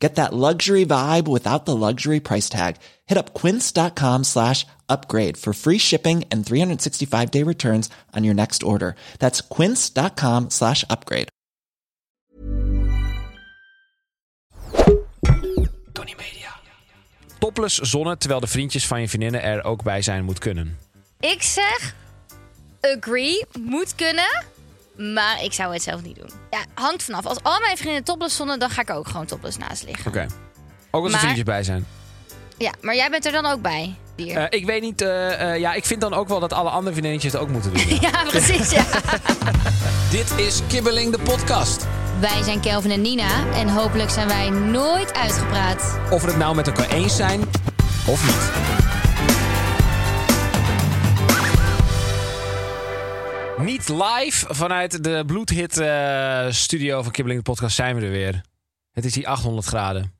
Get that luxury vibe without the luxury price tag. Hit up quince.com slash upgrade for free shipping and 365 day returns on your next order. That's quince.com slash upgrade. Tony Media. Topless zonnen terwijl de vriendjes van je vriendinnen er ook bij zijn moet kunnen. Ik zeg, agree, moet kunnen. Maar ik zou het zelf niet doen. Ja, hangt vanaf. Als al mijn vrienden topless stonden, dan ga ik er ook gewoon topless naast liggen. Oké. Ook als er Maar- vriendjes bij zijn. Ja, maar jij bent er dan ook bij, dier. Eh, ik weet niet, eh, eh, ja, ik vind dan ook wel dat alle andere vriendinnetjes het ook moeten doen. ja, precies. Ja. Dit is Kibbeling de podcast. Wij zijn Kelvin en Nina en hopelijk zijn wij nooit uitgepraat. Of we het nou met elkaar eens zijn of niet. Niet live vanuit de bloedhit eh, studio van Kibbeling de Podcast zijn we er weer. Het is hier 800 graden.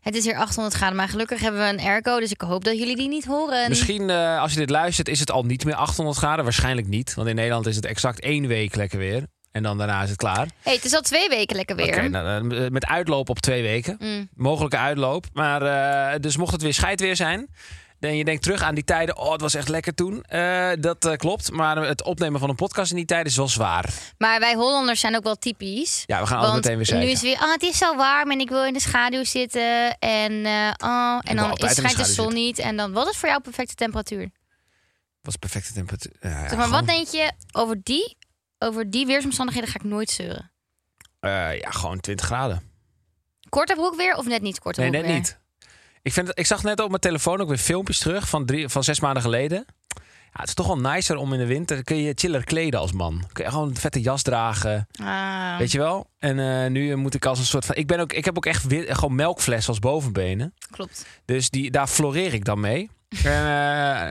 Het is hier 800 graden, maar gelukkig hebben we een airco, dus ik hoop dat jullie die niet horen. Misschien eh, als je dit luistert is het al niet meer 800 graden. Waarschijnlijk niet, want in Nederland is het exact één week lekker weer. En dan daarna is het klaar. hey, het is al twee weken lekker weer. Mm. Oké, nou, eh, met uitloop op twee weken. Mogelijke uitloop. Maar eh, dus mocht het weer scheidweer zijn. En je denkt terug aan die tijden. Oh, het was echt lekker toen. Eh, dat eh, klopt. Maar het opnemen van een podcast in die tijden is wel zwaar. Maar wij Hollanders zijn ook wel typisch. Ja, we gaan altijd Want meteen weer zeiken. nu is weer, ah, het is zo warm en ik wil in de schaduw zitten. En, eh, oh, en wil dan altijd in de is, schijnt schaduw de, zon zitten. niet. En dan, wat is voor jou perfecte temperatuur? was perfecte temperatuur. Ja, ja, zeg maar, gewoon, wat denk je, over die, over die weersomstandigheden ga ik nooit zeuren. eh, ja, gewoon 20 graden. Korte broek weer of net niet korte Nee, broek net weer? niet. Ik, vind, het- ik zag net op mijn telefoon ook weer filmpjes terug van, drie, van zes maanden geleden. Ja, het is toch wel nicer om in de winter. Kun je chiller kleden als man. Kun je gewoon een vette jas dragen. Ah, Weet je wel? En eh, nu eh, moet ik als een soort van. Ik, ben ook, ik heb ook echt wit- gewoon melkfles als bovenbenen. klopt. Dus die, daar floreer ik dan mee. En,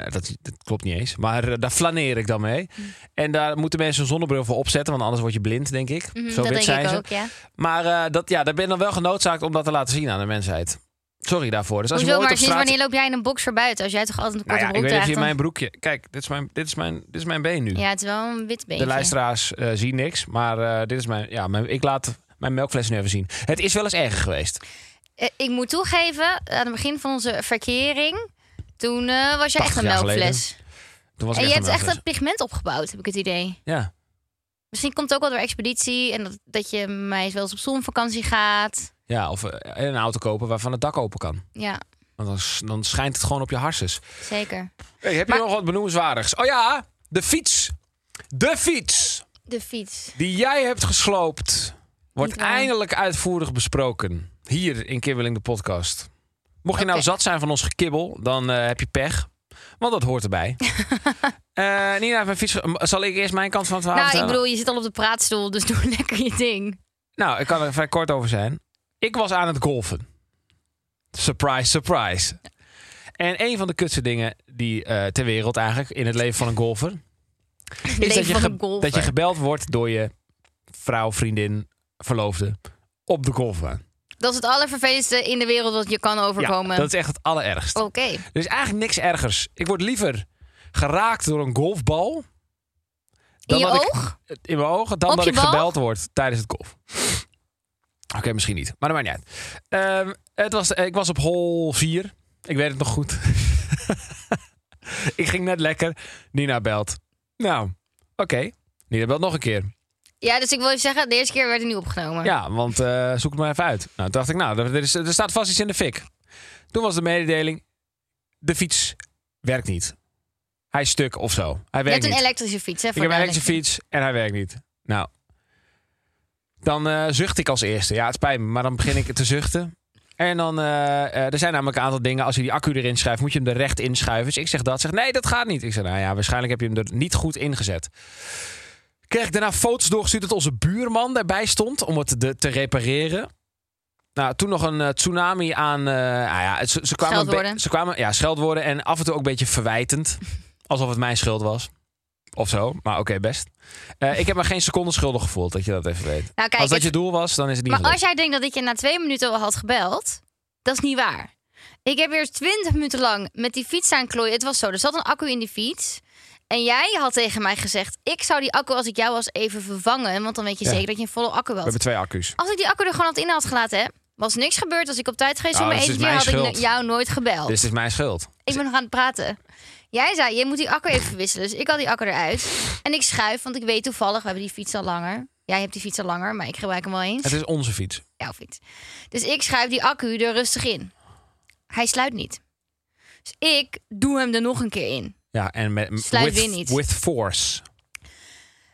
eh, dat, dat klopt niet eens. Maar eh, daar flaneer ik dan mee. Mm. En daar moeten mensen een zonnebril voor opzetten. Want anders word je blind, denk ik. Mhm, Zo dat wit denk zijn ik ze. ook, ja. Maar eh, dat, ja, daar ben je dan wel genoodzaakt om dat te laten zien aan de mensheid. Sorry daarvoor. Dus als je Hoezo, me ooit maar op sinds straat... wanneer loop jij in een boxer buiten? Als jij toch altijd een nou korte ja, ik broek weet niet of je draagt? mijn dan- broekje... Kijk, dit is mijn, dit is mijn, dit is mijn been nu. Ja, het is wel een wit beentje. De luisteraars eh, zien niks. Maar eh, dit is mijn... Ja, mijn, ik laat mijn melkfles nu even zien. Het is wel eens erger geweest. Eh, Ik moet toegeven, aan het begin van onze verkering, toen eh, was jij echt 80 een jaar geleden. melkfles. Toen was ik En echt je hebt een echt dat melkfles. pigment opgebouwd, heb ik het idee. Ja. Misschien komt het ook wel door expeditie en dat, dat je mij wel eens op zonvakantie gaat. ja, of eh, een auto kopen waarvan het dak open kan. Ja, Want dan, s- dan schijnt het gewoon op je harses. zeker. Hey, heb je nog wat benoemenswaardigs? Oh ja, de fiets. De fiets De fiets. die jij hebt gesloopt... wordt Niet waar. eindelijk uitvoerig besproken. Hier in Kibbeling de podcast. Mocht je nou Oké. zat zijn van ons gekibbel, dan eh, heb je pech. Want dat hoort erbij. Eh, Nina heeft mijn fiets... ge- Zal ik eerst mijn kant van het verhaal Nou, ik vertellen? bedoel, je zit al op de praatstoel, dus doe lekker je ding. Nou, ik kan er vrij kort over zijn. Ik was aan het golfen. Surprise, surprise. En een van de kutste dingen die eh, ter wereld eigenlijk in het leven van een golfer. Leven dat je, van ge- een golfer. dat je gebeld wordt door je vrouw, vriendin, verloofde op de golfbaan. Dat is het allervervelendste in de wereld wat je kan overkomen. Ja, Oh. dat is echt het allerergst. Oké. Er is eigenlijk niks ergers. Ik word liever geraakt door een golfbal. In je dat ik- oog? in mijn ogen dan Op dat je ik bal? gebeld word tijdens het golf. Oké, misschien niet. Maar dat maakt niet uit. Ehm, het was, ik was op hol 4. Ik weet het nog goed. ik ging net lekker. Nina belt. Nou, oké. Nina belt nog een keer. Ja, dus ik wil je zeggen, de eerste keer werd het niet opgenomen. Ja, want eh, zoek het maar even uit. Nou, toen dacht ik, nou, er, is, er staat vast iets in de fik. Toen was de mededeling, de fiets werkt niet. Hij is stuk of zo. Hij je werkt hebt een niet. elektrische fiets, hè? Ik voor heb een de elektrische fiets en hij werkt niet. Nou, dan eh, zucht ik als eerste. Ja, het spijt me, maar dan begin ik te zuchten. En dan, eh, eh, er zijn namelijk een aantal dingen. Als je die accu erin schuift, moet je hem er recht inschuiven. Dus ik zeg dat. Zeg, nee, dat gaat niet. Ik zeg, nou ja, waarschijnlijk heb je hem er niet goed ingezet. Kreeg ik daarna foto's doorgestuurd dat onze buurman daarbij stond om het de, te repareren. Nou, toen nog een eh, tsunami aan. eh, nou ja, ze, ze kwamen een be- Scheldwoorden. Ze kwamen, ja, scheldwoorden en af en toe ook een beetje verwijtend. Alsof het mijn schuld was. Of zo, maar oké, best. Eh, ik heb me geen seconde schuldig gevoeld, dat je dat even weet. Nou, kijk, als dat het- je doel was, dan is het niet Maar als gelukt. jij denkt dat ik je na twee minuten al had gebeld, dat is niet waar. Ik heb eerst twintig minuten lang met die fiets aan klooien. Het was zo, er zat een accu in die fiets. En jij had tegen mij gezegd, ik zou die accu als ik jou was even vervangen. Want dan weet je Ja. zeker dat je een volle We accu had. hebben twee accu's. Als ik die accu er gewoon had in had gelaten, hè, was niks gebeurd. Als ik op tijd geweest was, Nou, om dus het eten is had mijn ik schuld. Dus- jou nooit gebeld. Dit is mijn schuld. Ik ben nog aan het praten. Jij zei, je moet die akker even verwisselen. Dus ik had die akker eruit. En ik schuif, want ik weet toevallig, we hebben die fiets al langer. Jij hebt die fiets al langer, maar ik gebruik hem wel eens. Het is onze fiets. Jouw fiets. Dus ik schuif die accu er rustig in. Hij sluit niet. Dus ik doe hem er nog een keer in. Ja, en met Sluit with, weer niet. Oh, with force.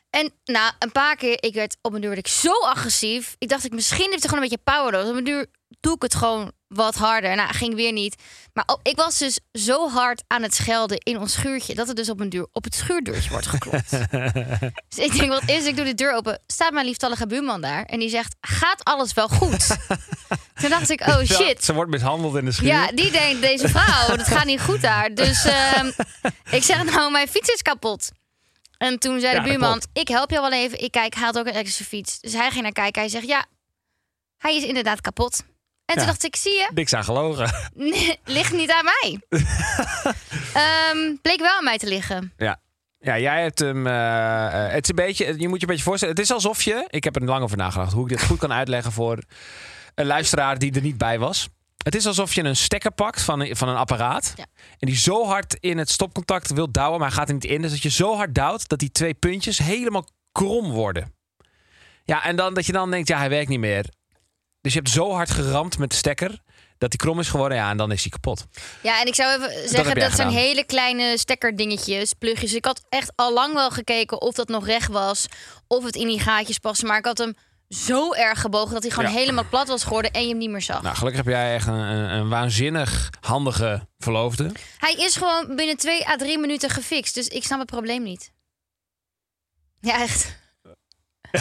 En na een paar keer, ik werd op een duur werd ik zo agressief. Ik dacht, ik, misschien heeft hij gewoon een beetje power nodig. Op een duur doe ik het gewoon wat harder. Nou, ging weer niet. Maar oh, ik was dus zo hard aan het schelden in ons schuurtje... dat het dus op een duur op het schuurdeurtje wordt geklopt. dus ik denk, wat is Ik doe de deur open. Staat mijn lieftallige buurman daar. En die zegt, gaat alles wel goed? Toen dacht ik, oh Ja, shit. Ze wordt mishandeld in de schuur. Ja, die denkt, deze vrouw, dat gaat niet goed daar. Dus ehm, ik zeg, nou, mijn fiets is kapot. En toen zei Ja, de dat buurman, klopt. ik help jou wel even. Ik kijk, haalt ook een elektrische fiets. Dus hij ging naar kijken. Hij zegt, ja, hij is inderdaad kapot. Ja. En toen dacht ik, zie je, Niks aan gelogen. Nee, ligt niet aan mij. Ehm, bleek wel aan mij te liggen. Ja. Ja, jij hebt hem. eh, eh, het is een beetje. Je moet je een beetje voorstellen. Het is alsof je. Ik heb er lang over nagedacht hoe ik dit goed kan uitleggen voor een luisteraar die er niet bij was. Het is alsof je een stekker pakt van een, van een apparaat. Ja. En die zo hard in het stopcontact wil douwen, maar hij gaat er niet in. Dus dat je zo hard duwt dat die twee puntjes helemaal krom worden. Ja, en dan dat je dan denkt, ja, hij werkt niet meer. Dus je hebt zo hard geramd met de stekker dat die krom is geworden. Ja, en dan is hij kapot. Ja, en ik zou even heb jij zeggen, dat, zijn gedaan. hele kleine stekkerdingetjes, plugjes. Ik had echt al lang wel gekeken of dat nog recht was. Of het in die gaatjes paste. Maar ik had hem zo erg gebogen dat hij gewoon Ja. helemaal plat was geworden en je hem niet meer zag. Nou, gelukkig heb jij echt een, een, een waanzinnig handige verloofde. Hij is gewoon binnen twee à drie minuten gefixt. Dus ik snap het probleem niet. Ja, echt.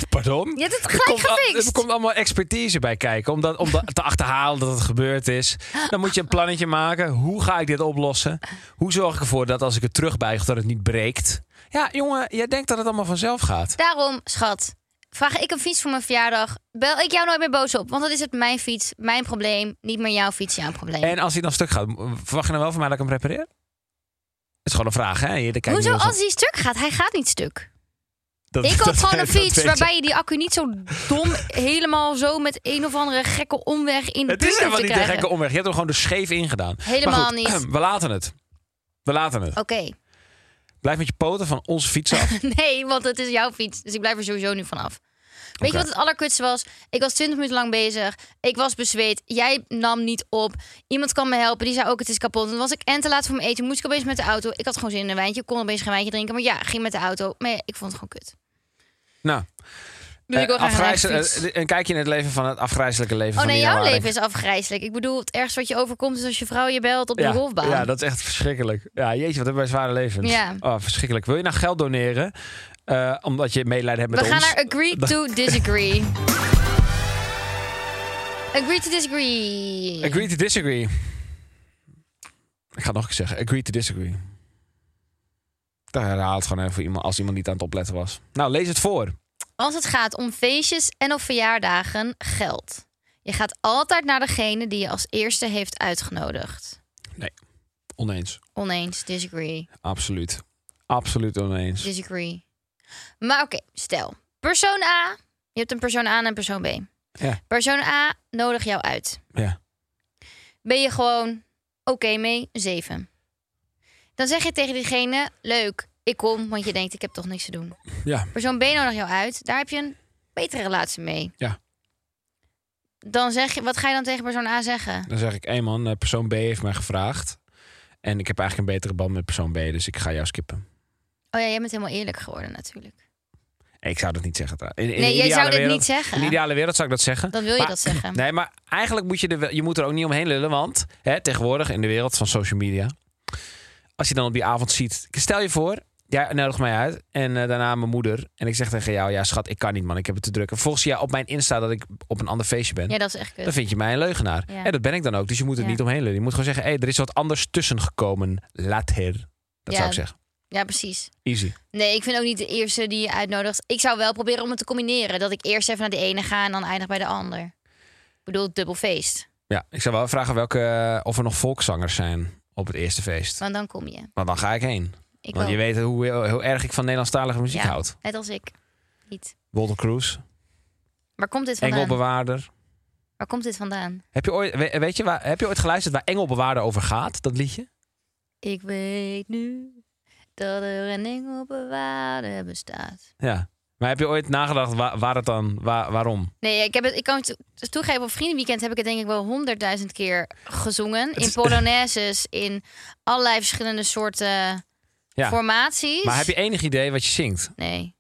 Pardon? Je hebt het gelijk al- er gefixt. komt allemaal expertise bij kijken. Om, dat, om dat te achterhalen dat het gebeurd is. Dan moet je een plannetje maken. Hoe ga ik dit oplossen? Hoe zorg ik ervoor dat als ik het terugbuig, dat het niet breekt? Ja, jongen, jij denkt dat het allemaal vanzelf gaat. Daarom, schat, vraag ik een fiets voor mijn verjaardag. Bel ik jou nooit meer boos op. Want dan is het mijn fiets, mijn probleem. Niet meer jouw fiets, jouw probleem. En als hij dan stuk gaat, verwacht je dan wel van mij dat ik hem repareer? Het is gewoon een vraag, hè? Je kijkt niet Hoezo heel als hij stuk gaat? Hij gaat niet stuk. dat- ik had dat- gewoon een dat weet fiets je. waarbij je die accu niet zo dom helemaal zo met een of andere gekke omweg in de Het is buurt hoeft helemaal te niet krijgen. een gekke omweg. Je hebt hem gewoon er scheef ingedaan. Maar Helemaal goed, niet. We laten het. We laten het. Oké, Blijf met je poten van onze fiets af. nee, want het is jouw fiets. Dus ik blijf er sowieso nu vanaf. Weet Oké. je wat het allerkutste was? Ik was 20 minuten lang bezig. Ik was bezweet. Jij nam niet op. Iemand kan me helpen. Die zei ook, het is kapot. En Toen was ik en te laat voor mijn eten. Moest ik opeens met de auto. Ik had gewoon zin in een wijntje. Kon opeens geen wijntje drinken. Maar ja, ging met de auto. Maar ja, ik vond het gewoon kut. Nou, Dus ik wil Eh, graag een afgrijze- eigen fiets. eh, een kijkje in het leven van het afgrijzelijke leven Oh van nee, Nina jouw Waring. leven is afgrijzelijk. Ik bedoel, het ergste wat je overkomt is als je vrouw je belt op de ja, golfbaan. Ja, dat is echt verschrikkelijk. Ja, jeetje, wat hebben wij zware levens. Ja. Oh, verschrikkelijk. Wil je nou geld doneren? Eh, omdat je medelijden hebt We met gaan ons. naar agree to disagree. agree to disagree. Agree to disagree. Ik ga het nog een keer zeggen. Agree to disagree. Dat herhaalt gewoon even iemand als iemand niet aan het opletten was. Nou, lees het voor. Als het gaat om feestjes en of verjaardagen, geld. Je gaat altijd naar degene die je als eerste heeft uitgenodigd. Oneens. Oneens, disagree, Absoluut. Absoluut oneens. disagree. Maar oké, stel. Persoon A, je hebt een persoon A en een persoon B. Ja. Persoon A nodig jou uit. Ja. ben je gewoon oké mee, zeven. Dan zeg je tegen diegene, leuk, ik kom, want je denkt, ik heb toch niks te doen. Ja. Persoon B nodig jou uit, daar heb je een betere relatie mee. Ja. Dan zeg je, wat ga je dan tegen persoon A zeggen? Dan zeg ik, hé man, eh, persoon B heeft mij gevraagd. En ik heb eigenlijk een betere band met persoon B, dus ik ga jou skippen. Oh ja, jij bent helemaal eerlijk geworden natuurlijk. Ik zou dat niet zeggen. trouw- In, in de nee, jij ideale zou dit wereld- niet zeggen. In de ideale wereld zou ik dat zeggen. Dan wil je Maar- dat zeggen. Nee, maar eigenlijk moet je er, wel- je moet er ook niet omheen lullen. Want hè, tegenwoordig in de wereld van social media... Als je dan op die avond ziet... Stel je voor, jij nodigt mij uit. En eh, daarna mijn moeder. En ik zeg tegen jou... Ja, schat, ik kan niet, man. Ik heb het te druk. En volgens jou op mijn Insta dat ik op een ander feestje ben. Ja, dat is echt kut. Dan vind je mij een leugenaar. Ja. En dat ben ik dan ook. Dus je moet er Ja. niet omheen lullen. Je moet gewoon zeggen... Hé, er is wat anders tussen gekomen. Later. Dat Ja. zou ik zeggen. Ja, precies. Easy. Nee, ik vind ook niet de eerste die je uitnodigt. Ik zou wel proberen om het te combineren. Dat ik eerst even naar de ene ga en dan eindig bij de ander. Ik bedoel, dubbel feest. Ja, ik zou wel vragen welke, eh, of er nog volkszangers zijn op het eerste feest. Want dan kom je. Maar dan ga ik heen. Ik Want wel. je weet hoe, hoe erg ik van Nederlandstalige muziek Ja. houd. Net als ik. Niet. Wolter Cruz, Waar komt dit vandaan? Engelbewaarder. Waar komt dit vandaan? Heb je, ooit, we- weet je, waar, heb je ooit geluisterd waar Engelbewaarder over gaat, dat liedje? Ik weet nu dat er een engel bewaarder bestaat. Ja. Maar heb je ooit nagedacht waar, waar het dan, waar, waarom? Nee, ik, heb het, ik kan het to- toegeven, op Vriendenweekend heb ik het denk ik wel honderdduizend keer gezongen. is- In polonaises, in allerlei verschillende soorten Ja. formaties. Maar heb je enig idee wat je zingt? Nee.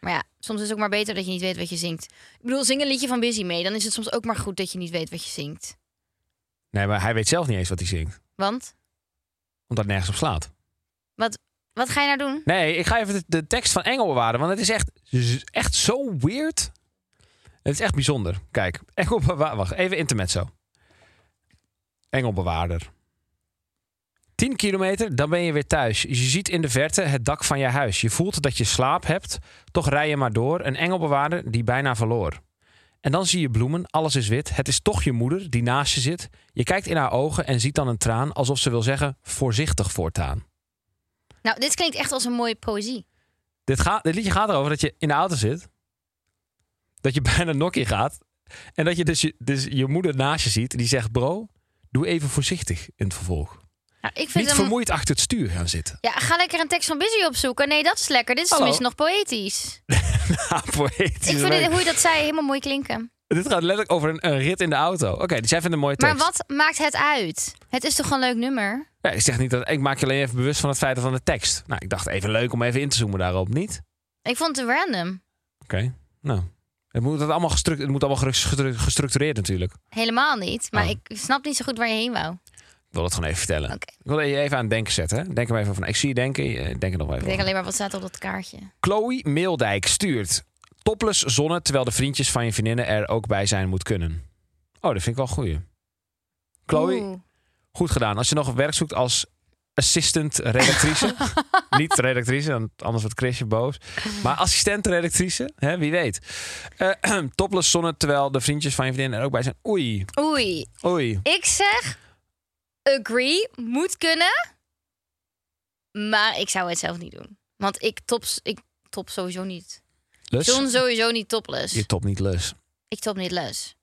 Maar ja, soms is het ook maar beter dat je niet weet wat je zingt. Ik bedoel, zing een liedje van Busy mee. Dan is het soms ook maar goed dat je niet weet wat je zingt. Nee, maar hij weet zelf niet eens wat hij zingt. Want, Omdat het nergens op slaat. wat ga je nou doen? Nee, ik ga even de, de tekst van Engel bewaren, want het is echt, z- echt zo weird. Het is echt bijzonder. Kijk, Engelbewaarder. Wacht, even intermezzo. Engelbewaarder. 10 kilometer, dan ben je weer thuis. Je ziet in de verte het dak van je huis. Je voelt dat je slaap hebt, toch rij je maar door. Een engelbewaarder die bijna verloor. En dan zie je bloemen, alles is wit. Het is toch je moeder die naast je zit. Je kijkt in haar ogen en ziet dan een traan, alsof ze wil zeggen: voorzichtig voortaan. Nou, dit klinkt echt als een mooie poëzie. Dit, gaat, dit liedje gaat erover dat je in de auto zit. Dat je bijna nokkie gaat. En dat je dus, je dus je moeder naast je ziet. Die zegt, bro, doe even voorzichtig in het vervolg. Nou, ik vind Niet hem... vermoeid achter het stuur gaan zitten. Ja, ga lekker een tekst van Busy opzoeken. Nee, dat is lekker. Dit is Hallo. tenminste nog poëtisch. Ja, poëtisch. ik vind dit, hoe je dat zei helemaal mooi klinken. Dit gaat letterlijk over een, een rit in de auto. Oké, dus jij vindt een mooie tekst. Maar wat maakt het uit? Het is toch een leuk nummer? Ja, ik zeg niet dat... Ik maak je alleen even bewust van het feit van de tekst. Nou, ik dacht even leuk om even in te zoomen daarop. Niet? Ik vond het random. Oké, nou. Het moet, dat allemaal gestruct, het moet allemaal gestru- gestructureerd natuurlijk. Helemaal niet. Maar Oh. ik snap niet zo goed waar je heen wou. Ik wil dat gewoon even vertellen. Oké. Ik wil je even aan het denken zetten. hè. Denk er maar even van. Ik zie je denken. eh, Denk er nog wel Ik even denk over. alleen maar wat staat op dat kaartje. Chloe Meeldijk stuurt. Topless zonne terwijl de vriendjes van je vriendinnen er ook bij zijn moet kunnen. Oh, dat vind ik wel een goeie. Chloe, Oeh. goed gedaan. Als je nog werk zoekt als assistant redactrice. Niet redactrice, want anders wordt Chrisje boos. Maar assistent redactrice, hè, wie weet. Eh, topless zonne terwijl de vriendjes van je vriendinnen er ook bij zijn. Oei, Oei. oei. Ik zeg, agree, moet kunnen. Maar ik zou het zelf niet doen. Want ik top, ik top sowieso niet. Ik Lus? zon sowieso niet topless. Je top niet lus. Ik top niet les.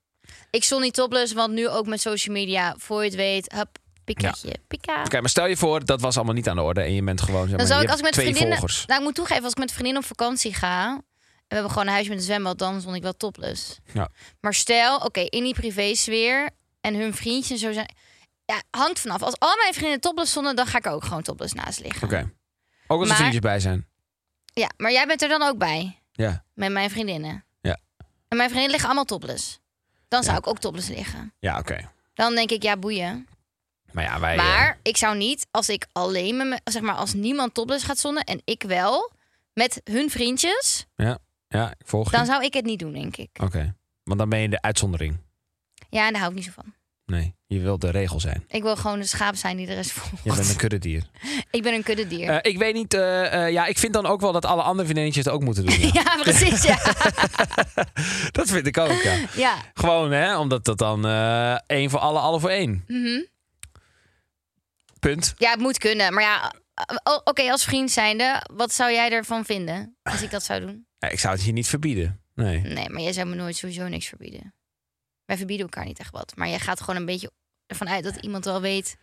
Ik zon niet topless, want nu ook met social media. Voor je het weet, hup, piketje, pika. Oké, maar stel je voor, dat was allemaal niet aan de orde. En je bent gewoon. Zeg maar, Dan zou je ik als ik hebt met twee vriendinnen. volgers. Nou, ik moet toegeven, als ik met vriendinnen op vakantie ga. En we hebben gewoon een huisje met een zwembad, dan zon ik wel topless. Ja. Maar stel, oké, in die privésfeer en hun vriendjes en zo zijn. Ja, hangt vanaf. Als al mijn vrienden topless zonnen, dan ga ik er ook gewoon topless naast liggen. Oké. Ook als er Hmm. Maar- vriendjes bij zijn. Ja, maar jij bent er dan ook bij. Ja. Met mijn vriendinnen. Ja. En mijn vriendinnen liggen allemaal topless. Dan zou Ja. ik ook topless liggen. Ja, oké. Dan denk ik, ja, boeien. Maar ja, wij. eh, Maar ik zou niet, als ik alleen met me, zeg maar, als niemand topless gaat zonnen en ik wel, met hun vriendjes, eh, ja, ik volg je. dan zou ik het niet doen, denk ik. Oké. Want dan ben je de uitzondering. Ja, en daar hou ik niet zo van. Nee, je wilt de regel zijn. Ik wil gewoon een schaap zijn die de rest volgt. Je bent een kuddedier. Ik ben een kuddedier. Eh, ik weet niet. eh, eh, ja, ik vind dan ook wel dat alle andere vriendinnetjes het ook moeten doen. ja. ja, precies. Ja. dat vind ik ook. Ja. ja. Gewoon, hè? Omdat dat dan eh, één voor alle, alle voor één. Mhm. Punt. ja, het moet kunnen. Maar ja, eh, oh, oké, als vriend zijnde, wat zou jij ervan vinden als ik dat zou doen? Ja, ik zou het hier niet verbieden. Nee. Nee, maar jij zou me nooit sowieso niks verbieden. Wij verbieden elkaar niet echt wat. Maar jij gaat gewoon een beetje ervan uit dat iemand wel weet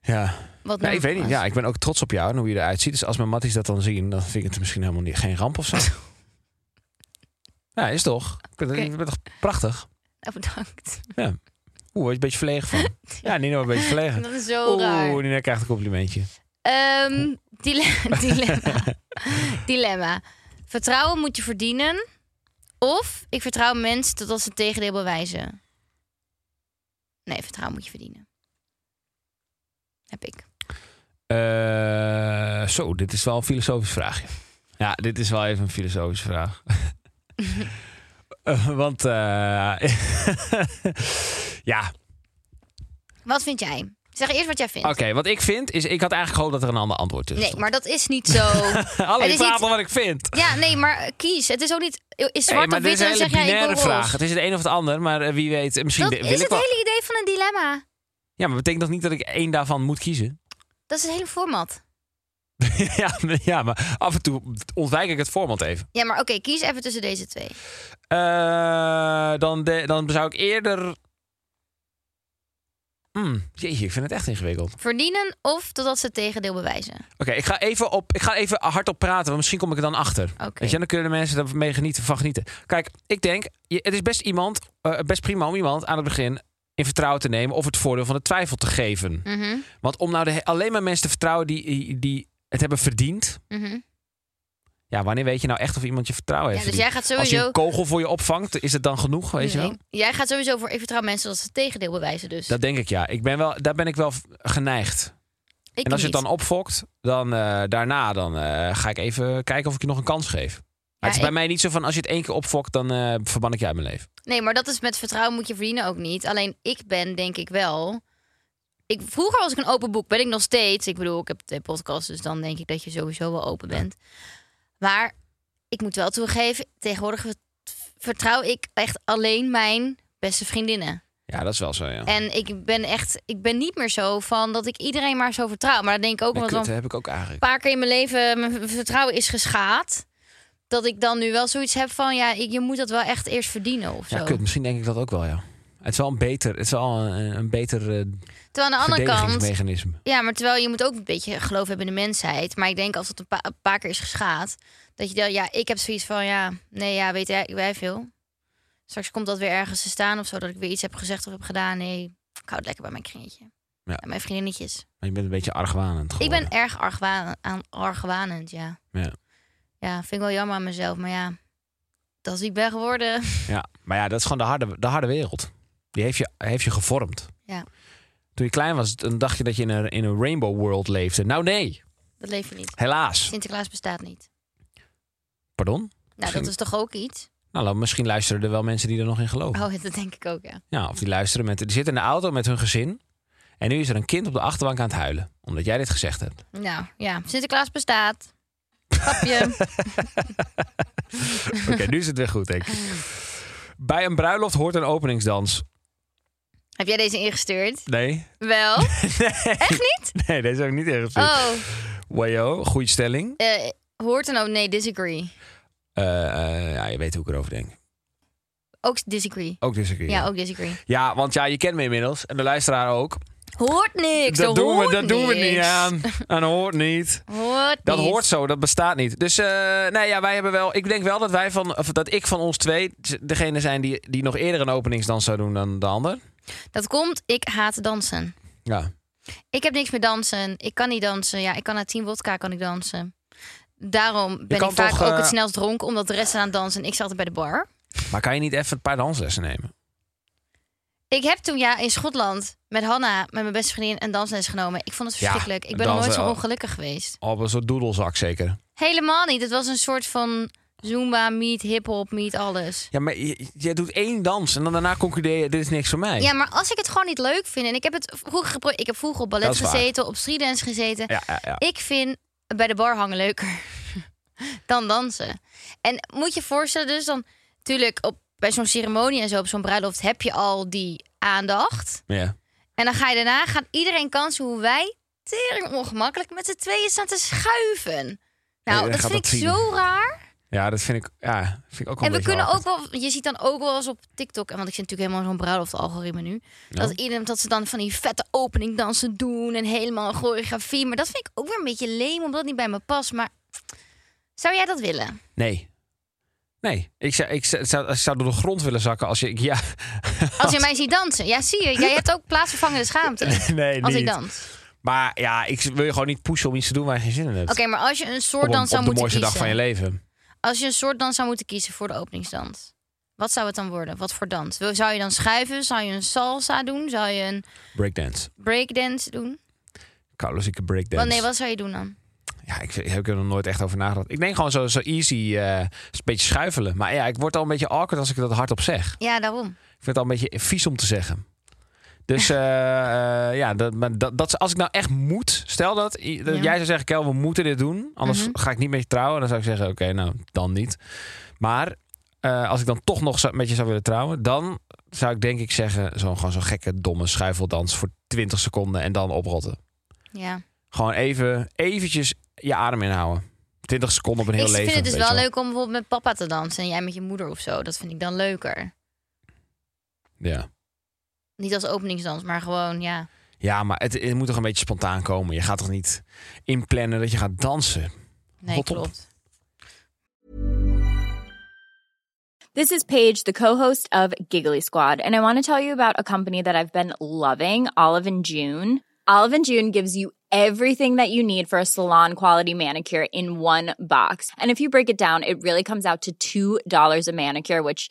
Ja. wat Nee, nodig ik weet niet. was. Ja, ik ben ook trots op jou en hoe je eruit ziet. Dus als mijn matties dat dan zien, dan vind ik het misschien helemaal niet, geen ramp of zo. ja, is toch? Ik vind het- Oké. Je bent toch prachtig? Oh, bedankt. Oeh, word je een beetje verlegen van. ja, Oh, Nino, een beetje verlegen. Dat is zo raar. Oeh, Nina krijgt een complimentje. Ehm, dile- dilemma. dilemma. Vertrouwen moet je verdienen. Of ik vertrouw mensen totdat ze het tegendeel bewijzen. Nee, vertrouwen moet je verdienen. Heb ik. Eh, zo, dit is wel een filosofisch vraagje. Ja, dit is wel even een filosofische vraag. Eh, want, eh, ja, Wat vind jij? Zeg eerst wat jij vindt. Oké, wat ik vind is, ik had eigenlijk gehoopt dat er een ander antwoord tussen Nee, maar dat is niet zo. stond. Hallo, het ik is praat niet- al wat ik vind. ja, nee, maar eh, kies. Het is ook niet. eh, Is Nee, zwart maar of dit is wit en een dan hele zeg jij ik binaire wil vraag. roze. Het is het een of het ander, maar eh, wie weet. eh, Misschien Dat de- wil ik is het wel. hele idee van een dilemma. Ja, maar betekent dat niet dat ik één daarvan moet kiezen? Dat is het hele format. ja, nee, ja, maar af en toe ontwijk ik het format even. Ja, maar oké, kies even tussen deze twee. Eh, dan, de- dan zou ik eerder... Hmm, jeetje, ik vind het echt ingewikkeld. Verdienen of totdat ze het tegendeel bewijzen. Oké, ik ga even op. Ik ga even hardop praten, want misschien kom ik er dan achter. Oké. Weet je, dan kunnen de mensen daarmee genieten, van genieten. Kijk, ik denk, je- het is best iemand, eh, best prima om iemand aan het begin in vertrouwen te nemen of het voordeel van de twijfel te geven. Mhm, Want om nou de, he- alleen maar mensen te vertrouwen die, die het hebben verdiend. mhm. Ja, wanneer weet je nou echt of iemand je vertrouwen Ja, heeft? dus jij verdiend? gaat Als je sowieso. een kogel voor je opvangt, is het dan genoeg, weet je Nee. wel? Jij gaat sowieso voor ik vertrouw mensen dat ze het tegendeel bewijzen. Dus Dat denk ik ja. Ik ben wel, daar ben ik wel v- geneigd. ik en als je het niet. dan opfokt, dan eh, daarna dan, eh, ga ik even kijken of ik je nog een kans geef. Maar het Ja, is ik- bij mij niet zo van als je het één keer opfokt, dan eh verban ik je uit mijn leven. Nee, maar dat is met vertrouwen moet je verdienen ook niet. Alleen ik ben denk ik wel. Ik, vroeger was ik een open boek, ben ik nog steeds. Ik bedoel, ik heb twee podcasts, dus dan denk ik dat je sowieso wel open bent. Maar ik moet wel toegeven, tegenwoordig ver- vertrouw ik echt alleen mijn beste vriendinnen. Ja, dat is wel zo, ja. En ik ben echt, ik ben niet meer zo van dat ik iedereen maar zo vertrouw. Maar dat denk ik ook, Nee, omdat kut, dan dat heb ik ook eigenlijk. een paar keer in mijn leven mijn vertrouwen is geschaad. Dat ik dan nu wel zoiets heb van, ja, ik- je moet dat wel echt eerst verdienen of zo. Ja, kut, misschien denk ik dat ook wel, ja. Het is wel een beter, het is wel een, een beter eh Terwijl aan de andere kant, verdedigingsmechanisme. ja, maar terwijl je moet ook een beetje geloof hebben in de mensheid. Maar ik denk als dat een, pa- een paar keer is geschaad, dat je dan, ja, ik heb zoiets van, ja, nee, ja, weet jij, wij veel. Straks komt dat weer ergens te staan of zo, dat ik weer iets heb gezegd of heb gedaan. Nee, ik hou het lekker bij mijn kringetje. Ja. En mijn vriendinnetjes. Maar je bent een beetje argwanend Ik geworden. ben erg argwaan, aan, argwanend, ja. Ja. Ja, vind ik wel jammer aan mezelf, maar ja, dat is wie ik ben geworden. Ja, maar ja, dat is gewoon de harde, de harde wereld. Die heeft je, heeft je gevormd. Ja. Toen je klein was, dan dacht je dat je in een, in een rainbow world leefde. Nou nee, Dat leef je niet. helaas. Sinterklaas bestaat niet. Pardon? Nou, dat is toch ook iets? Nou, dan- misschien luisteren er wel mensen die er nog in geloven. Oh, dat denk ik ook, ja. Ja, of die luisteren met... Die zitten in de auto met hun gezin. En nu is er een kind op de achterbank aan het huilen. Omdat jij dit gezegd hebt. Nou ja, Sinterklaas bestaat. Papje. Oké, nu is het weer goed, denk ik. Bij een bruiloft hoort een openingsdans. Heb jij deze ingestuurd? Nee. Wel. Echt niet? Nee, deze heb ik niet ergens. Oh. Oh, Wajo, goede stelling. eh, hoort en ook. Nee, disagree. Eh, eh, ja, je weet hoe ik erover denk. Ook disagree. Ook disagree. Ja, Ja, ook disagree. ja want ja, je kent me inmiddels. En de luisteraar ook. Hoort niks. dat doen we, hoort dat doen we niks. niet aan. En hoort niet. Hoort Dat niet. hoort zo, dat bestaat niet. Dus eh, nee, ja, wij hebben wel. Ik denk wel dat wij van, of dat ik van ons twee degene zijn die, die nog eerder een openingsdans zou doen dan de ander. Dat komt, ik haat dansen. Ja. Ik heb niks met dansen. Ik kan niet dansen. Ja, ik kan na tien wodka kan ik dansen. Daarom ben kan ik vaak toch, ook eh, het snelst dronken, omdat de rest aan het dansen. En ik zat bij de bar. Maar kan je niet even een paar danslessen nemen? Ik heb toen ja in Schotland met Hanna, met mijn beste vriendin, een dansles genomen. Ik vond het Ja, verschrikkelijk. ik ben nog nooit dansen, zo oh. ongelukkig geweest. Op een soort doedelzak zeker. Helemaal niet. Het was een soort van Zumba, meet, hip-hop, meet, alles. Ja, maar je- jij doet één dans en dan daarna concludeer je, dit is niks voor mij. Ja, maar als ik het gewoon niet leuk vind. En ik heb het vroeger geprobeerd. Ik heb vroeger op Dat ballet is waar. gezeten, op streetdance gezeten. ja, ja, ja. Ik vind bij de bar hangen leuker dan dansen. En moet je je voorstellen dus dan... Tuurlijk, op, bij zo'n ceremonie en zo, op zo'n bruiloft... heb je al die aandacht. Ja. En dan ga je daarna, gaat iedereen kansen hoe wij... tering ongemakkelijk met z'n tweeën staan te schuiven. Nou, dan dat gaat vind dat ik zien. zo raar. Ja, dat vind ik, ja, vind ik ook wel En we een beetje kunnen ook awkward. wel, je ziet dan ook wel eens op TikTok, en want ik zit natuurlijk helemaal in zo'n bruiloft-algoritme nu, dat iedereen dat ze dan van die vette opening dansen doen en helemaal een choreografie. Maar dat vind ik ook weer een beetje leem, omdat het niet bij me past. Maar zou jij dat willen? Nee. Nee, ik zou, ik, zou, zou- ik zou door de grond willen zakken als je... ik- Ja, Als je mij ziet dansen, ja, zie je, jij hebt ook plaatsvervangende schaamte. nee, Als niet. ik dans. Maar ja, ik wil je gewoon niet pushen om iets te doen waar je geen zin in hebt. Oké, maar als je een op, soort een- dans zou op de moeten mooiste dag kiezen. van je leven. Als je een soort dans zou moeten kiezen voor de openingsdans. Wat zou het dan worden? Wat voor dans? Wil- Zou je dan schuiven? Zou je een salsa doen? Zou je een Breakdance. breakdance doen? Carlos, ik breakdance. Wel, nee, wat zou je doen dan? Ja, ik, ik heb er nog nooit echt over nagedacht. Ik denk gewoon zo, zo easy, eh, een beetje schuifelen. Maar ja, ik word al een beetje awkward als ik dat hardop zeg. Ja, daarom. Ik vind het al een beetje vies om te zeggen. Dus eh, eh, ja, dat, maar dat, dat, als ik nou echt moet, stel dat, i- dat Ja. jij zou zeggen, Kel, we moeten dit doen. Anders Mhm. ga ik niet met je trouwen. Dan zou ik zeggen, oké, nou, dan niet. Maar eh, als ik dan toch nog zou- met je zou willen trouwen, dan zou ik denk ik zeggen, zo'n gewoon zo'n gekke, domme schuifeldans voor 20 seconden en dan oprotten. Ja. Gewoon even, eventjes je adem inhouden. 20 seconden op een heel ik leven. vind het dus weet wel je leuk om bijvoorbeeld met papa te dansen en jij met je moeder of zo. Dat vind ik dan leuker. Ja. Niet als openingsdans, maar gewoon, ja. ja, maar het, het moet toch een beetje spontaan komen. Je gaat toch niet inplannen dat je gaat dansen? Nee, Rot op. klopt. This is Paige, the co-host of Giggly Squad, and I want to tell you about a company that I've been loving, Olive and June. Olive and June gives you everything that you need for a salon quality manicure in one box. And if you break it down, it really comes out to $2 a manicure, which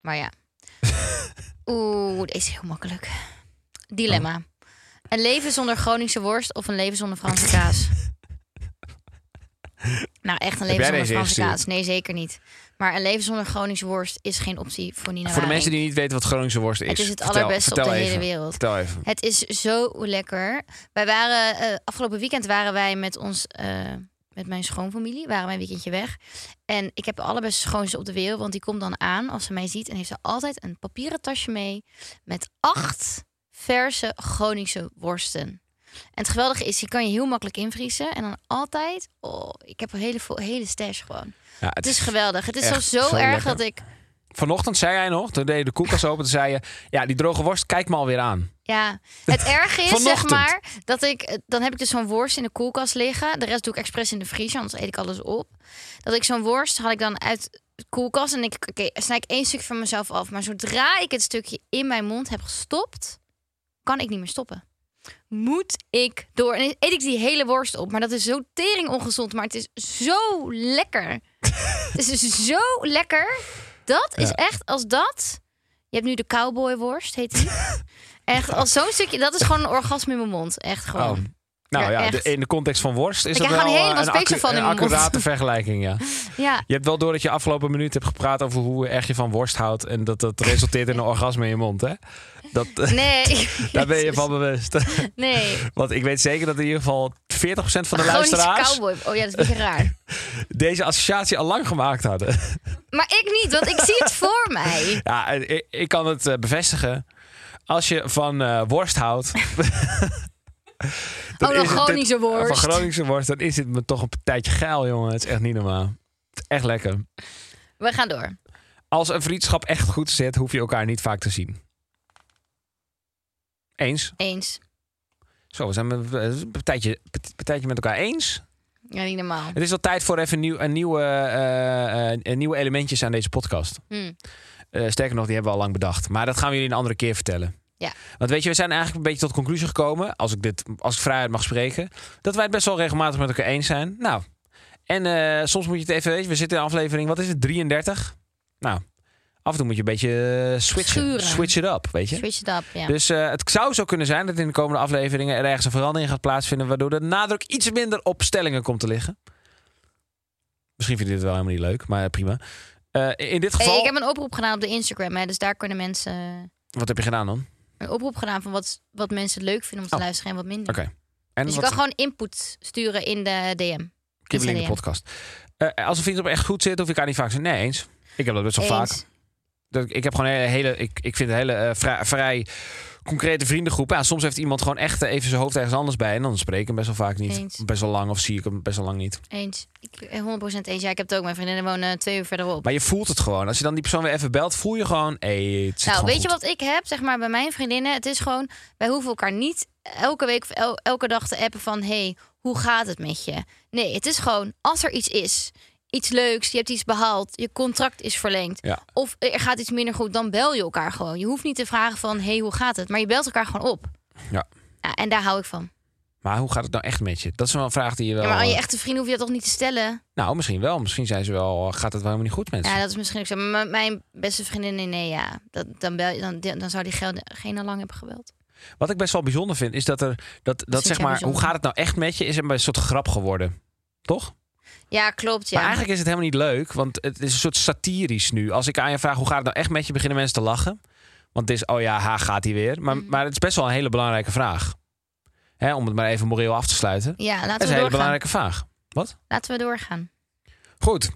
Maar ja. Oeh, deze is heel makkelijk. Dilemma. Oh. Een leven zonder Groningse worst of een leven zonder Franse kaas? nou, echt jij een leven zonder deze Franse ingestuurd? kaas. Nee, zeker niet. Maar een leven zonder Groningse worst is geen optie voor Nina Voor de Waring. mensen die niet weten wat Groningse worst is. Het is het vertel- allerbeste op vertel de hele even. wereld. Vertel even. Het is zo lekker. Wij waren, eh, afgelopen weekend waren wij met ons, eh, met mijn schoonfamilie, waren wij een weekendje weg. En ik heb de allerbeste schoonste op de wereld, want die komt dan aan als ze mij ziet. En heeft ze altijd een papieren tasje mee met acht verse Groningse worsten. En het geweldige is, die kan je heel makkelijk invriezen. En dan altijd, oh, ik heb een hele, vo- hele stash gewoon. Ja, Het is geweldig. Het is zo, echt zo, zo erg lekker. dat ik, Vanochtend zei jij nog, toen deed je de koelkast open, toen zei je... Ja, die droge worst, kijk me alweer aan. Ja, het erg is, zeg Vanochtend. maar, dat ik... Dan heb ik dus zo'n worst in de koelkast liggen. De rest doe ik expres in de vriezer, anders eet ik alles op. Dat ik zo'n worst had ik dan uit de koelkast... en ik, oké, eh, snij ik één stukje van mezelf af. Maar zodra ik het stukje in mijn mond heb gestopt... kan ik niet meer stoppen. Moet ik door. En dan eet ik die hele worst op. Maar dat is zo tering ongezond. Maar het is zo lekker. het is zo lekker. Dat is echt als dat... Je hebt nu de cowboyworst, heet die. Echt, als zo'n stukje, dat is gewoon een orgasme in mijn mond. Echt gewoon. Oh. Nou Ja, ja, echt. de- in de context van worst is Ik dat krijg wel gewoon eh, helemaal een, speeksel van in een mijn mond. accurate vergelijking, ja. Ja, Je hebt wel door dat je afgelopen minuut hebt gepraat over hoe erg je van worst houdt... en dat dat resulteert in een orgasme in je mond, hè? Dat, eh, nee. daar ben je van bewust. Nee. Want ik weet zeker dat in ieder geval 40% van de Chronische luisteraars... cowboy. Oh ja, dat is een beetje raar. deze associatie al lang gemaakt hadden. Maar ik niet, want ik zie het voor mij. Ja, en ik, ik kan het eh, bevestigen. Als je van eh, worst houdt. dan Oh, de is het- Groningse worst. Van Groningse worst, dan is dit me toch een tijdje geil, jongen. Het is echt niet normaal. Het is echt lekker. We gaan door. Als een vriendschap echt goed zit, hoef je elkaar niet vaak te zien. Eens. Eens. Zo, we zijn met- eh, een tijdje, een tijdje met elkaar eens. Ja, niet normaal. Het is wel tijd voor even nieuw, een nieuwe, eh, eh, een nieuwe elementjes aan deze podcast. Hm. Eh, sterker nog, die hebben we al lang bedacht. Maar dat gaan we jullie een andere keer vertellen. Ja. Want weet je, we zijn eigenlijk een beetje tot de conclusie gekomen, als ik, dit, als ik vrijheid mag spreken, dat wij het best wel regelmatig met elkaar eens zijn. Nou, en eh, soms moet je het even, weet je, we zitten in aflevering, wat is het, 33? Nou, af en toe moet je een beetje eh, switchen. Schuren. Switch it up, weet je. Switch it up, ja. Dus eh, het zou zo kunnen zijn dat in de komende afleveringen er ergens een verandering gaat plaatsvinden, waardoor de nadruk iets minder op stellingen komt te liggen. Misschien vind je dit wel helemaal niet leuk, maar prima. Eh, in dit Hey, geval, ik heb een oproep gedaan op de Instagram, hè, dus daar kunnen mensen... eh, wat heb je gedaan dan? Een oproep gedaan van wat, wat mensen leuk vinden om te Oh. luisteren en wat minder. Oké. En Dus je wat- kan gewoon input sturen in de DM. Kibbeling de Instagram. podcast. Eh, als een vriendschap echt goed zit, hoef ik haar niet vaak te zeggen. Nee, eens. Ik heb dat best wel vaak. Eens. Dat, ik heb gewoon een hele, ik, ik vind een hele eh, vrij, vrij concrete vriendengroep. Ja, soms heeft iemand gewoon echt eh, even zijn hoofd ergens anders bij. En dan spreek ik hem best wel vaak niet. Eens. Eens. Best wel lang of zie ik hem best wel lang niet. Ik, eh, 100% eens. Ja, ik heb het ook. Mijn vriendinnen wonen twee uur verderop. Maar je voelt het gewoon. Als je dan die persoon weer even belt, voel je gewoon... Hey, het zit Nou, gewoon weet goed. je wat ik heb, zeg maar, bij mijn vriendinnen? Het is gewoon, wij hoeven elkaar niet elke week of el- elke dag te appen van... hey, hoe gaat het met je? Nee, het is gewoon, als er iets is, iets leuks, je hebt iets behaald, je contract is verlengd. Ja. Of er gaat iets minder goed, dan bel je elkaar gewoon. Je hoeft niet te vragen van, hé, hey, hoe gaat het? Maar je belt elkaar gewoon op. Ja. Ja, en daar hou ik van. Maar hoe gaat het nou echt met je? Dat is wel een vraag die je wel... eh, Ja, maar aan je echte vrienden hoef je dat toch niet te stellen? Nou, misschien wel. Misschien zijn ze wel... eh, Gaat het wel helemaal niet goed met ze? Ja, dat is misschien ook zo. Maar m- mijn beste vriendin, nee, nee, ja. Dat, dan, bel, je- dan, dan zou die geen lang hebben gebeld. Wat ik best wel bijzonder vind, is dat er... Dat, dat vind zeg jij maar, hoe bijzonder? gaat het nou echt met je? Is een soort grap geworden. Toch? Ja, klopt, ja. Maar eigenlijk is het helemaal niet leuk, want het is een soort satirisch nu. Als ik aan je vraag hoe gaat het nou echt met je, beginnen mensen te lachen. Want het is, oh ja, ha, gaat hij weer. Mm. Maar, maar het is best wel een hele belangrijke vraag. Hè, om het maar even moreel af te sluiten. Ja, Het is laten een we hele doorgaan. belangrijke vraag. Wat? Laten we doorgaan. Goed,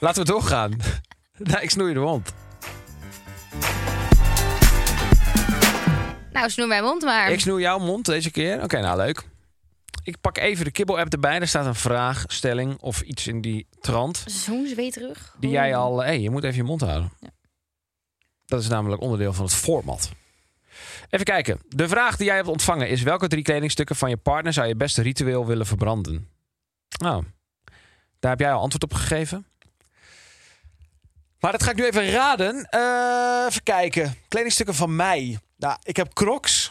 laten we doorgaan. nou, ik snoei de hond. Nou, snoer mijn mond maar. Ik snoei jouw mond deze keer. Oké, nou leuk. Ik pak even de kibbel-app erbij. Daar staat een vraag, stelling of iets in die trant. Zo'n zweeterug. Die jij al... Hé, je moet even je mond houden. Dat is namelijk onderdeel van het format. Even kijken. De vraag die jij hebt ontvangen is... welke drie kledingstukken van je partner zou je best ritueel willen verbranden? Nou, daar heb jij al antwoord op gegeven. Maar dat ga ik nu even raden. Eh, even kijken. Kledingstukken van mij. Nou, ik heb crocs.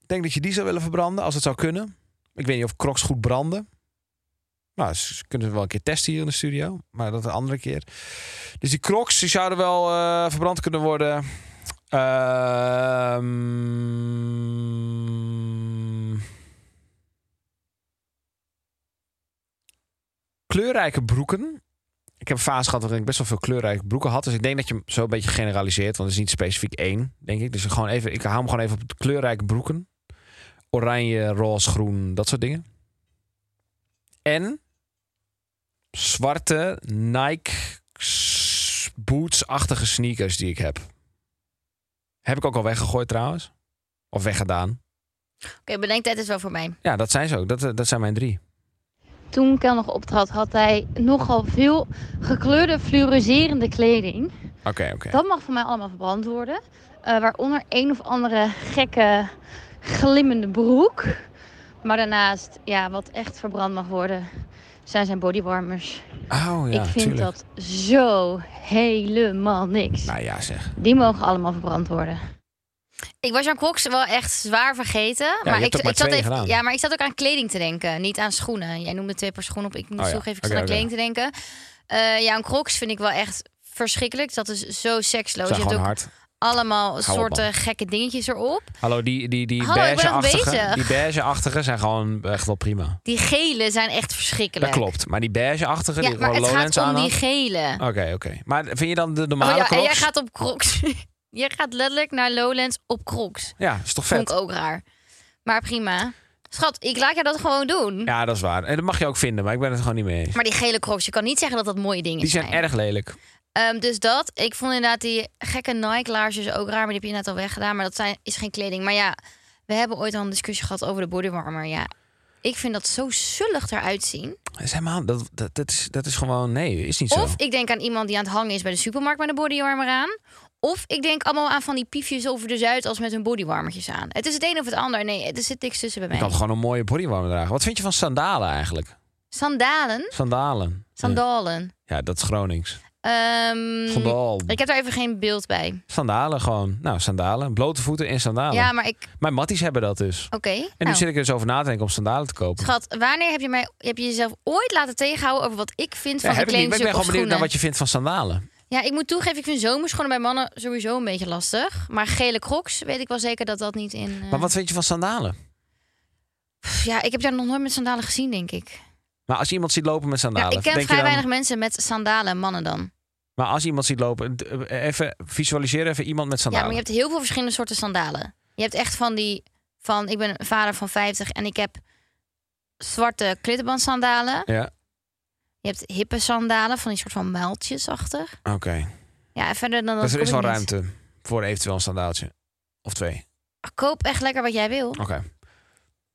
Ik denk dat je die zou willen verbranden, als het zou kunnen. Ik weet niet of crocs goed branden. Nou, ze kunnen we wel een keer testen hier in de studio. Maar dat een andere keer. Dus die crocs, die zouden wel eh, verbrand kunnen worden. Ehm, kleurrijke broeken. Ik heb een fase gehad waarin ik best wel veel kleurrijke broeken had. Dus ik denk dat je hem zo een beetje generaliseert. Want het is niet specifiek één, denk ik. Dus gewoon even, ik hou hem gewoon even op de kleurrijke broeken. Oranje, roze, groen, dat soort dingen. En zwarte Nike s- boots-achtige sneakers die ik heb. Heb ik ook al weggegooid trouwens. Of weggedaan. Oké, bedenktijd is wel voor mij. Ja, dat zijn ze ook. Dat, eh, dat zijn mijn drie. toen Kel nog optrad, had hij nogal veel gekleurde fluoriserende kleding. Oké, oké. Dat mag voor mij allemaal verbrand worden. Eh, waaronder een of andere gekke glimmende broek. Maar daarnaast, ja, wat echt verbrand mag worden, zijn zijn bodywarmers. Oh ja, Ik vind tuurlijk. dat zo helemaal niks. Nou ja, zeg. Die mogen allemaal verbrand worden. Ik was Jan Cox wel echt zwaar vergeten. maar hebt ik, ook maar ik zat twee even, gedaan. ja, maar ik zat ook aan kleding te denken, niet aan schoenen. Jij noemde twee paar schoenen op. Ik moet Oh ja, toegeven, ik oké, zat aan oké. kleding te denken. Eh ja, een crocs vind ik wel echt verschrikkelijk. Dat is zo seksloos. Zijn je hebt gewoon ook hard. allemaal op, soorten man. gekke dingetjes erop. Hallo, die, die, die Hallo, ik ben nog beige-achtige. bezig. Die beige-achtige zijn gewoon echt wel prima. Die gele zijn echt Dat verschrikkelijk. klopt. Maar die beige-achtige, Ja, die maar gewoon het Lowlands gaat om aan. die gele. Oké, oké. Maar vind je dan de Oh normale ja, en jij crocs? gaat op crocs. jij gaat letterlijk naar Lowlands op crocs. Ja, is toch Vond vet? ik ook raar. Maar prima. Schat, ik laat jou dat gewoon doen. Ja, dat is waar. En dat mag je ook vinden, maar ik ben het gewoon niet mee eens. Maar die gele crocs, je kan niet zeggen dat dat mooie dingen Die zijn. zijn erg lelijk. Ehm, dus dat. Ik vond inderdaad die gekke Nike-laarsjes ook raar. Maar die heb je net al weggedaan. Maar dat zijn, is geen kleding. Maar ja, we hebben ooit al een discussie gehad over de bodywarmer. Ja, ik vind dat zo zullig eruit zien. Dat is helemaal, dat, dat, dat, is, dat is gewoon, nee, is niet zo. Of ik denk aan iemand die aan het hangen is bij de supermarkt met een bodywarmer aan. Of ik denk allemaal aan van die piefjes over de Zuid als met hun bodywarmertjes aan. Het is het een of het ander. Nee, er zit niks tussen bij Je kan mij. gewoon een mooie bodywarmer dragen. Wat vind je van sandalen eigenlijk? Sandalen? Sandalen. Sandalen. Ja, Ja, dat is Gronings. Ehm, Sandaal. ik heb daar even geen beeld bij. Sandalen gewoon. Nou, sandalen. Blote voeten in sandalen. Ja, maar ik... Oké. Mijn matties hebben dat dus. Ah, En nu nou. zit ik er dus over na te denken om sandalen te kopen. Schat, wanneer heb je, mij, heb je jezelf ooit laten tegenhouden over wat ik vind Ja, van heb de ik, niet, maar ik kledingstuk ben of gewoon benieuwd naar schoenen? wat je vindt van sandalen. Ja, ik moet toegeven, ik vind zomerschoenen bij mannen sowieso een beetje lastig. Maar gele crocs weet ik wel zeker dat dat niet in... eh, Maar wat vind je van sandalen? pff, Ja, ik heb daar nog nooit met sandalen gezien, denk ik. Maar als je iemand ziet lopen met Ja, sandalen, ik ken denk je vrij dan, weinig mensen met sandalen, mannen dan. Maar als je iemand ziet lopen, d- even visualiseer even iemand met Ja, sandalen. maar je hebt heel veel verschillende soorten sandalen. Je hebt echt van die... Van, ik ben een vader van 50 en ik heb zwarte klittenbandsandalen. Ja, Je hebt hippe sandalen, van die soort van muiltjesachtig. oké. Ja, en verder dan dat Dus er kom is ik wel niet. ruimte voor eventueel een sandaaltje. Of twee. Ah, Koop echt lekker wat jij wil. Oké.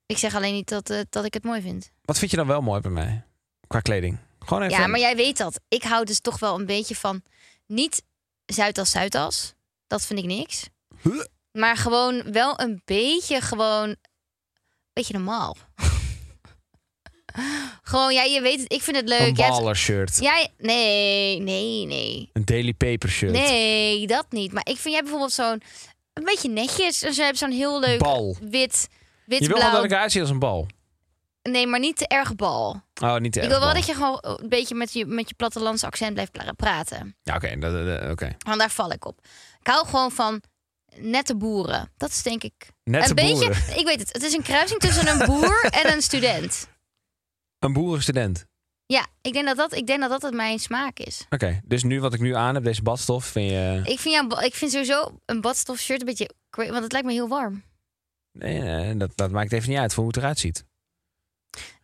Ik zeg alleen niet dat, eh, dat ik het mooi vind. Wat vind je dan wel mooi bij mij? Qua kleding. Gewoon even. Ja, maar jij weet dat. Ik hou dus toch wel een beetje van niet Zuidas Zuidas. Dat vind ik niks. Huh? Maar gewoon wel een beetje gewoon een beetje normaal. Gewoon, ja, je weet het. eh, Ik vind het leuk. Een Je hebt- baller shirt. Jij, nee, nee, nee. Een Daily Paper shirt. Nee, dat niet. Maar ik vind jij bijvoorbeeld zo'n... Een beetje netjes. En ze hebben zo'n heel leuk Bal. wit... Je wil wel dat Wit-blauw. ik eruit zie als een bal. Nee, maar niet te erg bal. Oh, niet ik wil wel dat je gewoon een beetje met je, met je plattelandse accent blijft pra- praten. Ja, oké. dat- dat- dat- oké. Want daar val ik op. Ik hou gewoon van nette boeren. Dat is denk ik... Nette een beetje, boeren. ik weet het. Het is een kruising tussen een boer en een student. Een boerenstudent. Ja, ik denk dat dat, ik denk dat, dat het mijn smaak is. Oké, dus nu wat ik nu aan heb, deze badstof, vind je... Ik vind, jou, ik vind sowieso een badstof shirt een beetje... cra- Want het lijkt me heel warm. Nee, nee, eh, dat, dat maakt even niet uit voor hoe het eruit ziet.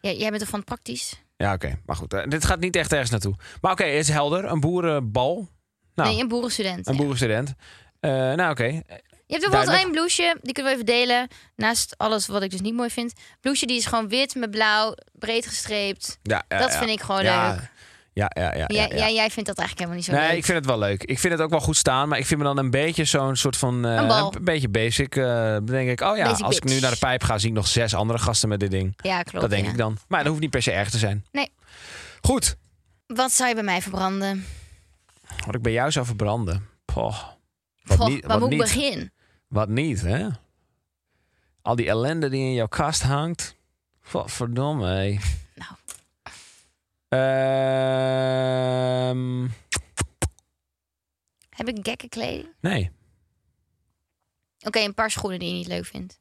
Ja, jij bent toch van praktisch? Ja, oké. Maar goed, eh, dit gaat niet echt ergens naartoe. Maar oké, is helder. Een boerenbal. Nou, nee, een boerenstudent. een ja. boerenstudent. Eh, nou, oké. Je hebt bijvoorbeeld Duidelijk. één blouseje, die kunnen we even delen. Naast alles wat ik dus niet mooi vind. Blouseje die is gewoon wit met blauw, breed gestreept. Ja, ja, dat ja. vind ik gewoon ja. leuk. Ja, ja, ja. ja, Ja, ja. ja, jij vindt dat eigenlijk helemaal niet zo Nee, leuk. ik vind het wel leuk. Ik vind het ook wel goed staan, maar ik vind me dan een beetje zo'n soort van... eh, Een bal. een beetje basic. eh, Dan denk ik, oh ja, Basic als ik nu bitch. naar de pijp ga, zie ik nog zes andere gasten met dit ding. Ja, klopt. dat denk ja. ik dan. Maar dat hoeft niet per se erg te zijn. Nee. Goed. Wat zou je bij mij verbranden? Wat ik bij jou zou verbranden. Poh. Wat Goh, niet, waar wat moet ik niet, beginnen? wat niet, hè? Al die ellende die in jouw kast hangt. Wat verdomme, hé. Nou. Ehm, Heb ik gekke kleding? Oké, nee. een paar schoenen die je niet leuk vindt.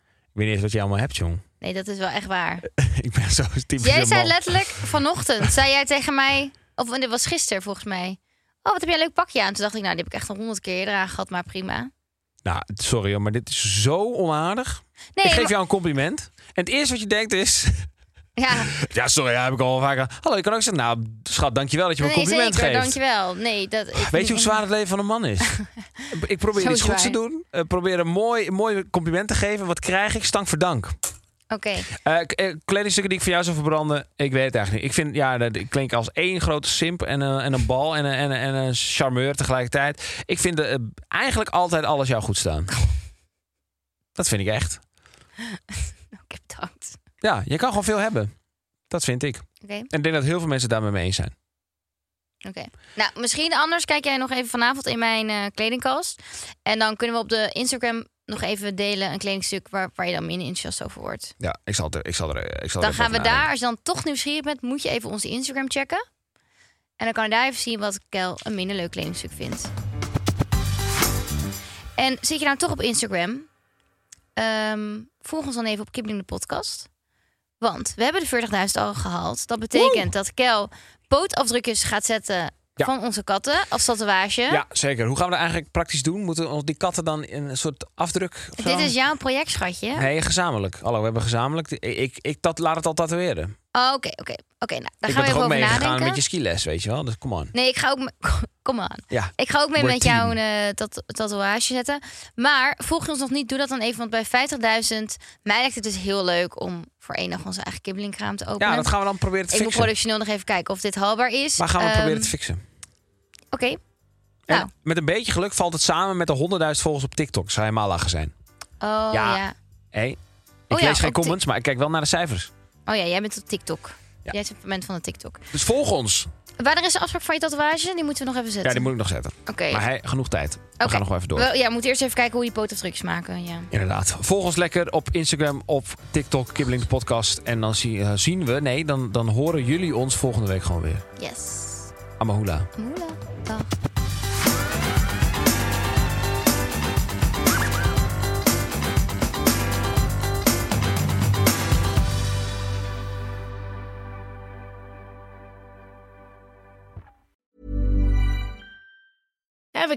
Ik weet niet eens wat je allemaal hebt, jong. Nee, dat is wel echt Eh, waar. ik ben zo typisch Jij een zei man. letterlijk vanochtend, zei jij tegen mij... Of nee, dat was gisteren volgens mij. Oh, wat heb jij een leuk pakje aan? Toen dacht ik, nou, die heb ik echt al honderd keer eraan gehad, maar prima. Nou, sorry hoor, maar dit is zo onaardig. Nee, ik geef maar- jou een compliment. En het eerste wat je denkt is... Ja, ja, sorry, ja, heb ik al vaker... Hallo, je kan ook zeggen... Nou, schat, dankjewel dat je me een nee, compliment zeker, geeft. dankjewel. Nee, dat, ik, Weet je hoe zwaar het leven van een man is? ik probeer Zo iets goeds te zwaar. doen. eh, probeer een mooi, mooi compliment te geven. Wat krijg ik? Stank voor dank. Oké, Eh, k- eh, kledingstukken die ik voor jou zou verbranden, ik weet het eigenlijk niet. Ik vind, ja, dat ik klink als één grote simp en een, en een bal en een, en, een, en een charmeur tegelijkertijd. Ik vind eh, eigenlijk altijd alles jou goed staan. Dat vind ik echt. oké, bedankt. Ja, je kan gewoon veel hebben. Dat vind ik. Oké, En ik denk dat heel veel mensen daarmee mee eens zijn. oké. Nou, misschien anders kijk jij nog even vanavond in mijn eh, kledingkast. En dan kunnen we op de Instagram nog even delen een kledingstuk waar, waar je dan minder enthousiast over wordt. Ja, ik zal, er, ik zal, er, ik zal Dan gaan we daar, als je dan toch nieuwsgierig bent, moet je even onze Instagram checken. En dan kan je daar even zien wat Kel een minder leuk kledingstuk vindt. En zit je nou toch op Instagram? Ehm, volg ons dan even op Kibbeling de podcast. Want we hebben de 40.000 al gehaald. Dat betekent dat Kel pootafdrukjes gaat zetten Ja. van onze katten als tatoeage. Ja, zeker. Hoe gaan we dat eigenlijk praktisch doen? Moeten we ons die katten dan in een soort afdruk? of zo? Dit is jouw project, schatje. Nee, gezamenlijk. Hallo, we hebben gezamenlijk. Ik, ik, ik dat, laat het al tatoeëren. Oh, Oké, oké. Oké, nou, daar ik gaan ben we toch even ook over meegegaan nadenken. met je skiles, weet je wel? Dus kom on. Nee, ik ga ook... me- Kom aan. Ja. Ik ga ook mee We're met team. jou een eh, tat- tatoeage zetten. Maar volg je ons nog niet, doe dat dan even. Want bij 50.000, mij lijkt het dus heel leuk om voor één dag onze eigen kibbelingkraam te openen. Ja, dat gaan we dan proberen te ik moet fixen. productioneel nog even kijken of dit haalbaar is. Maar gaan we Ehm, proberen te fixen. Oké, En nou. met een beetje geluk valt het samen met de 100.000 volgers op TikTok. Zou helemaal lachen zijn. oh Ja. ja. Hé, ik Oh ja, lees geen op Tik- comments, maar ik kijk wel naar de cijfers. Oh ja, jij bent op TikTok. Ja. Jij bent moment van de TikTok. Dus volg ons. Wanneer is de afspraak van je tatoeage? Die moeten we nog even Ja, zetten. die moet ik nog zetten. Oké. Maar hey, genoeg tijd. We Oké. gaan nog wel even door. Wel, ja, we moeten eerst even kijken hoe die pootafdrukjes maken. Ja. Inderdaad. Volg ons lekker op Instagram, op TikTok, Kibbeling de podcast. En dan zie- eh, zien we, nee, dan, dan horen jullie ons volgende week gewoon weer. Yes. Amahula. Moela. Dag. Ever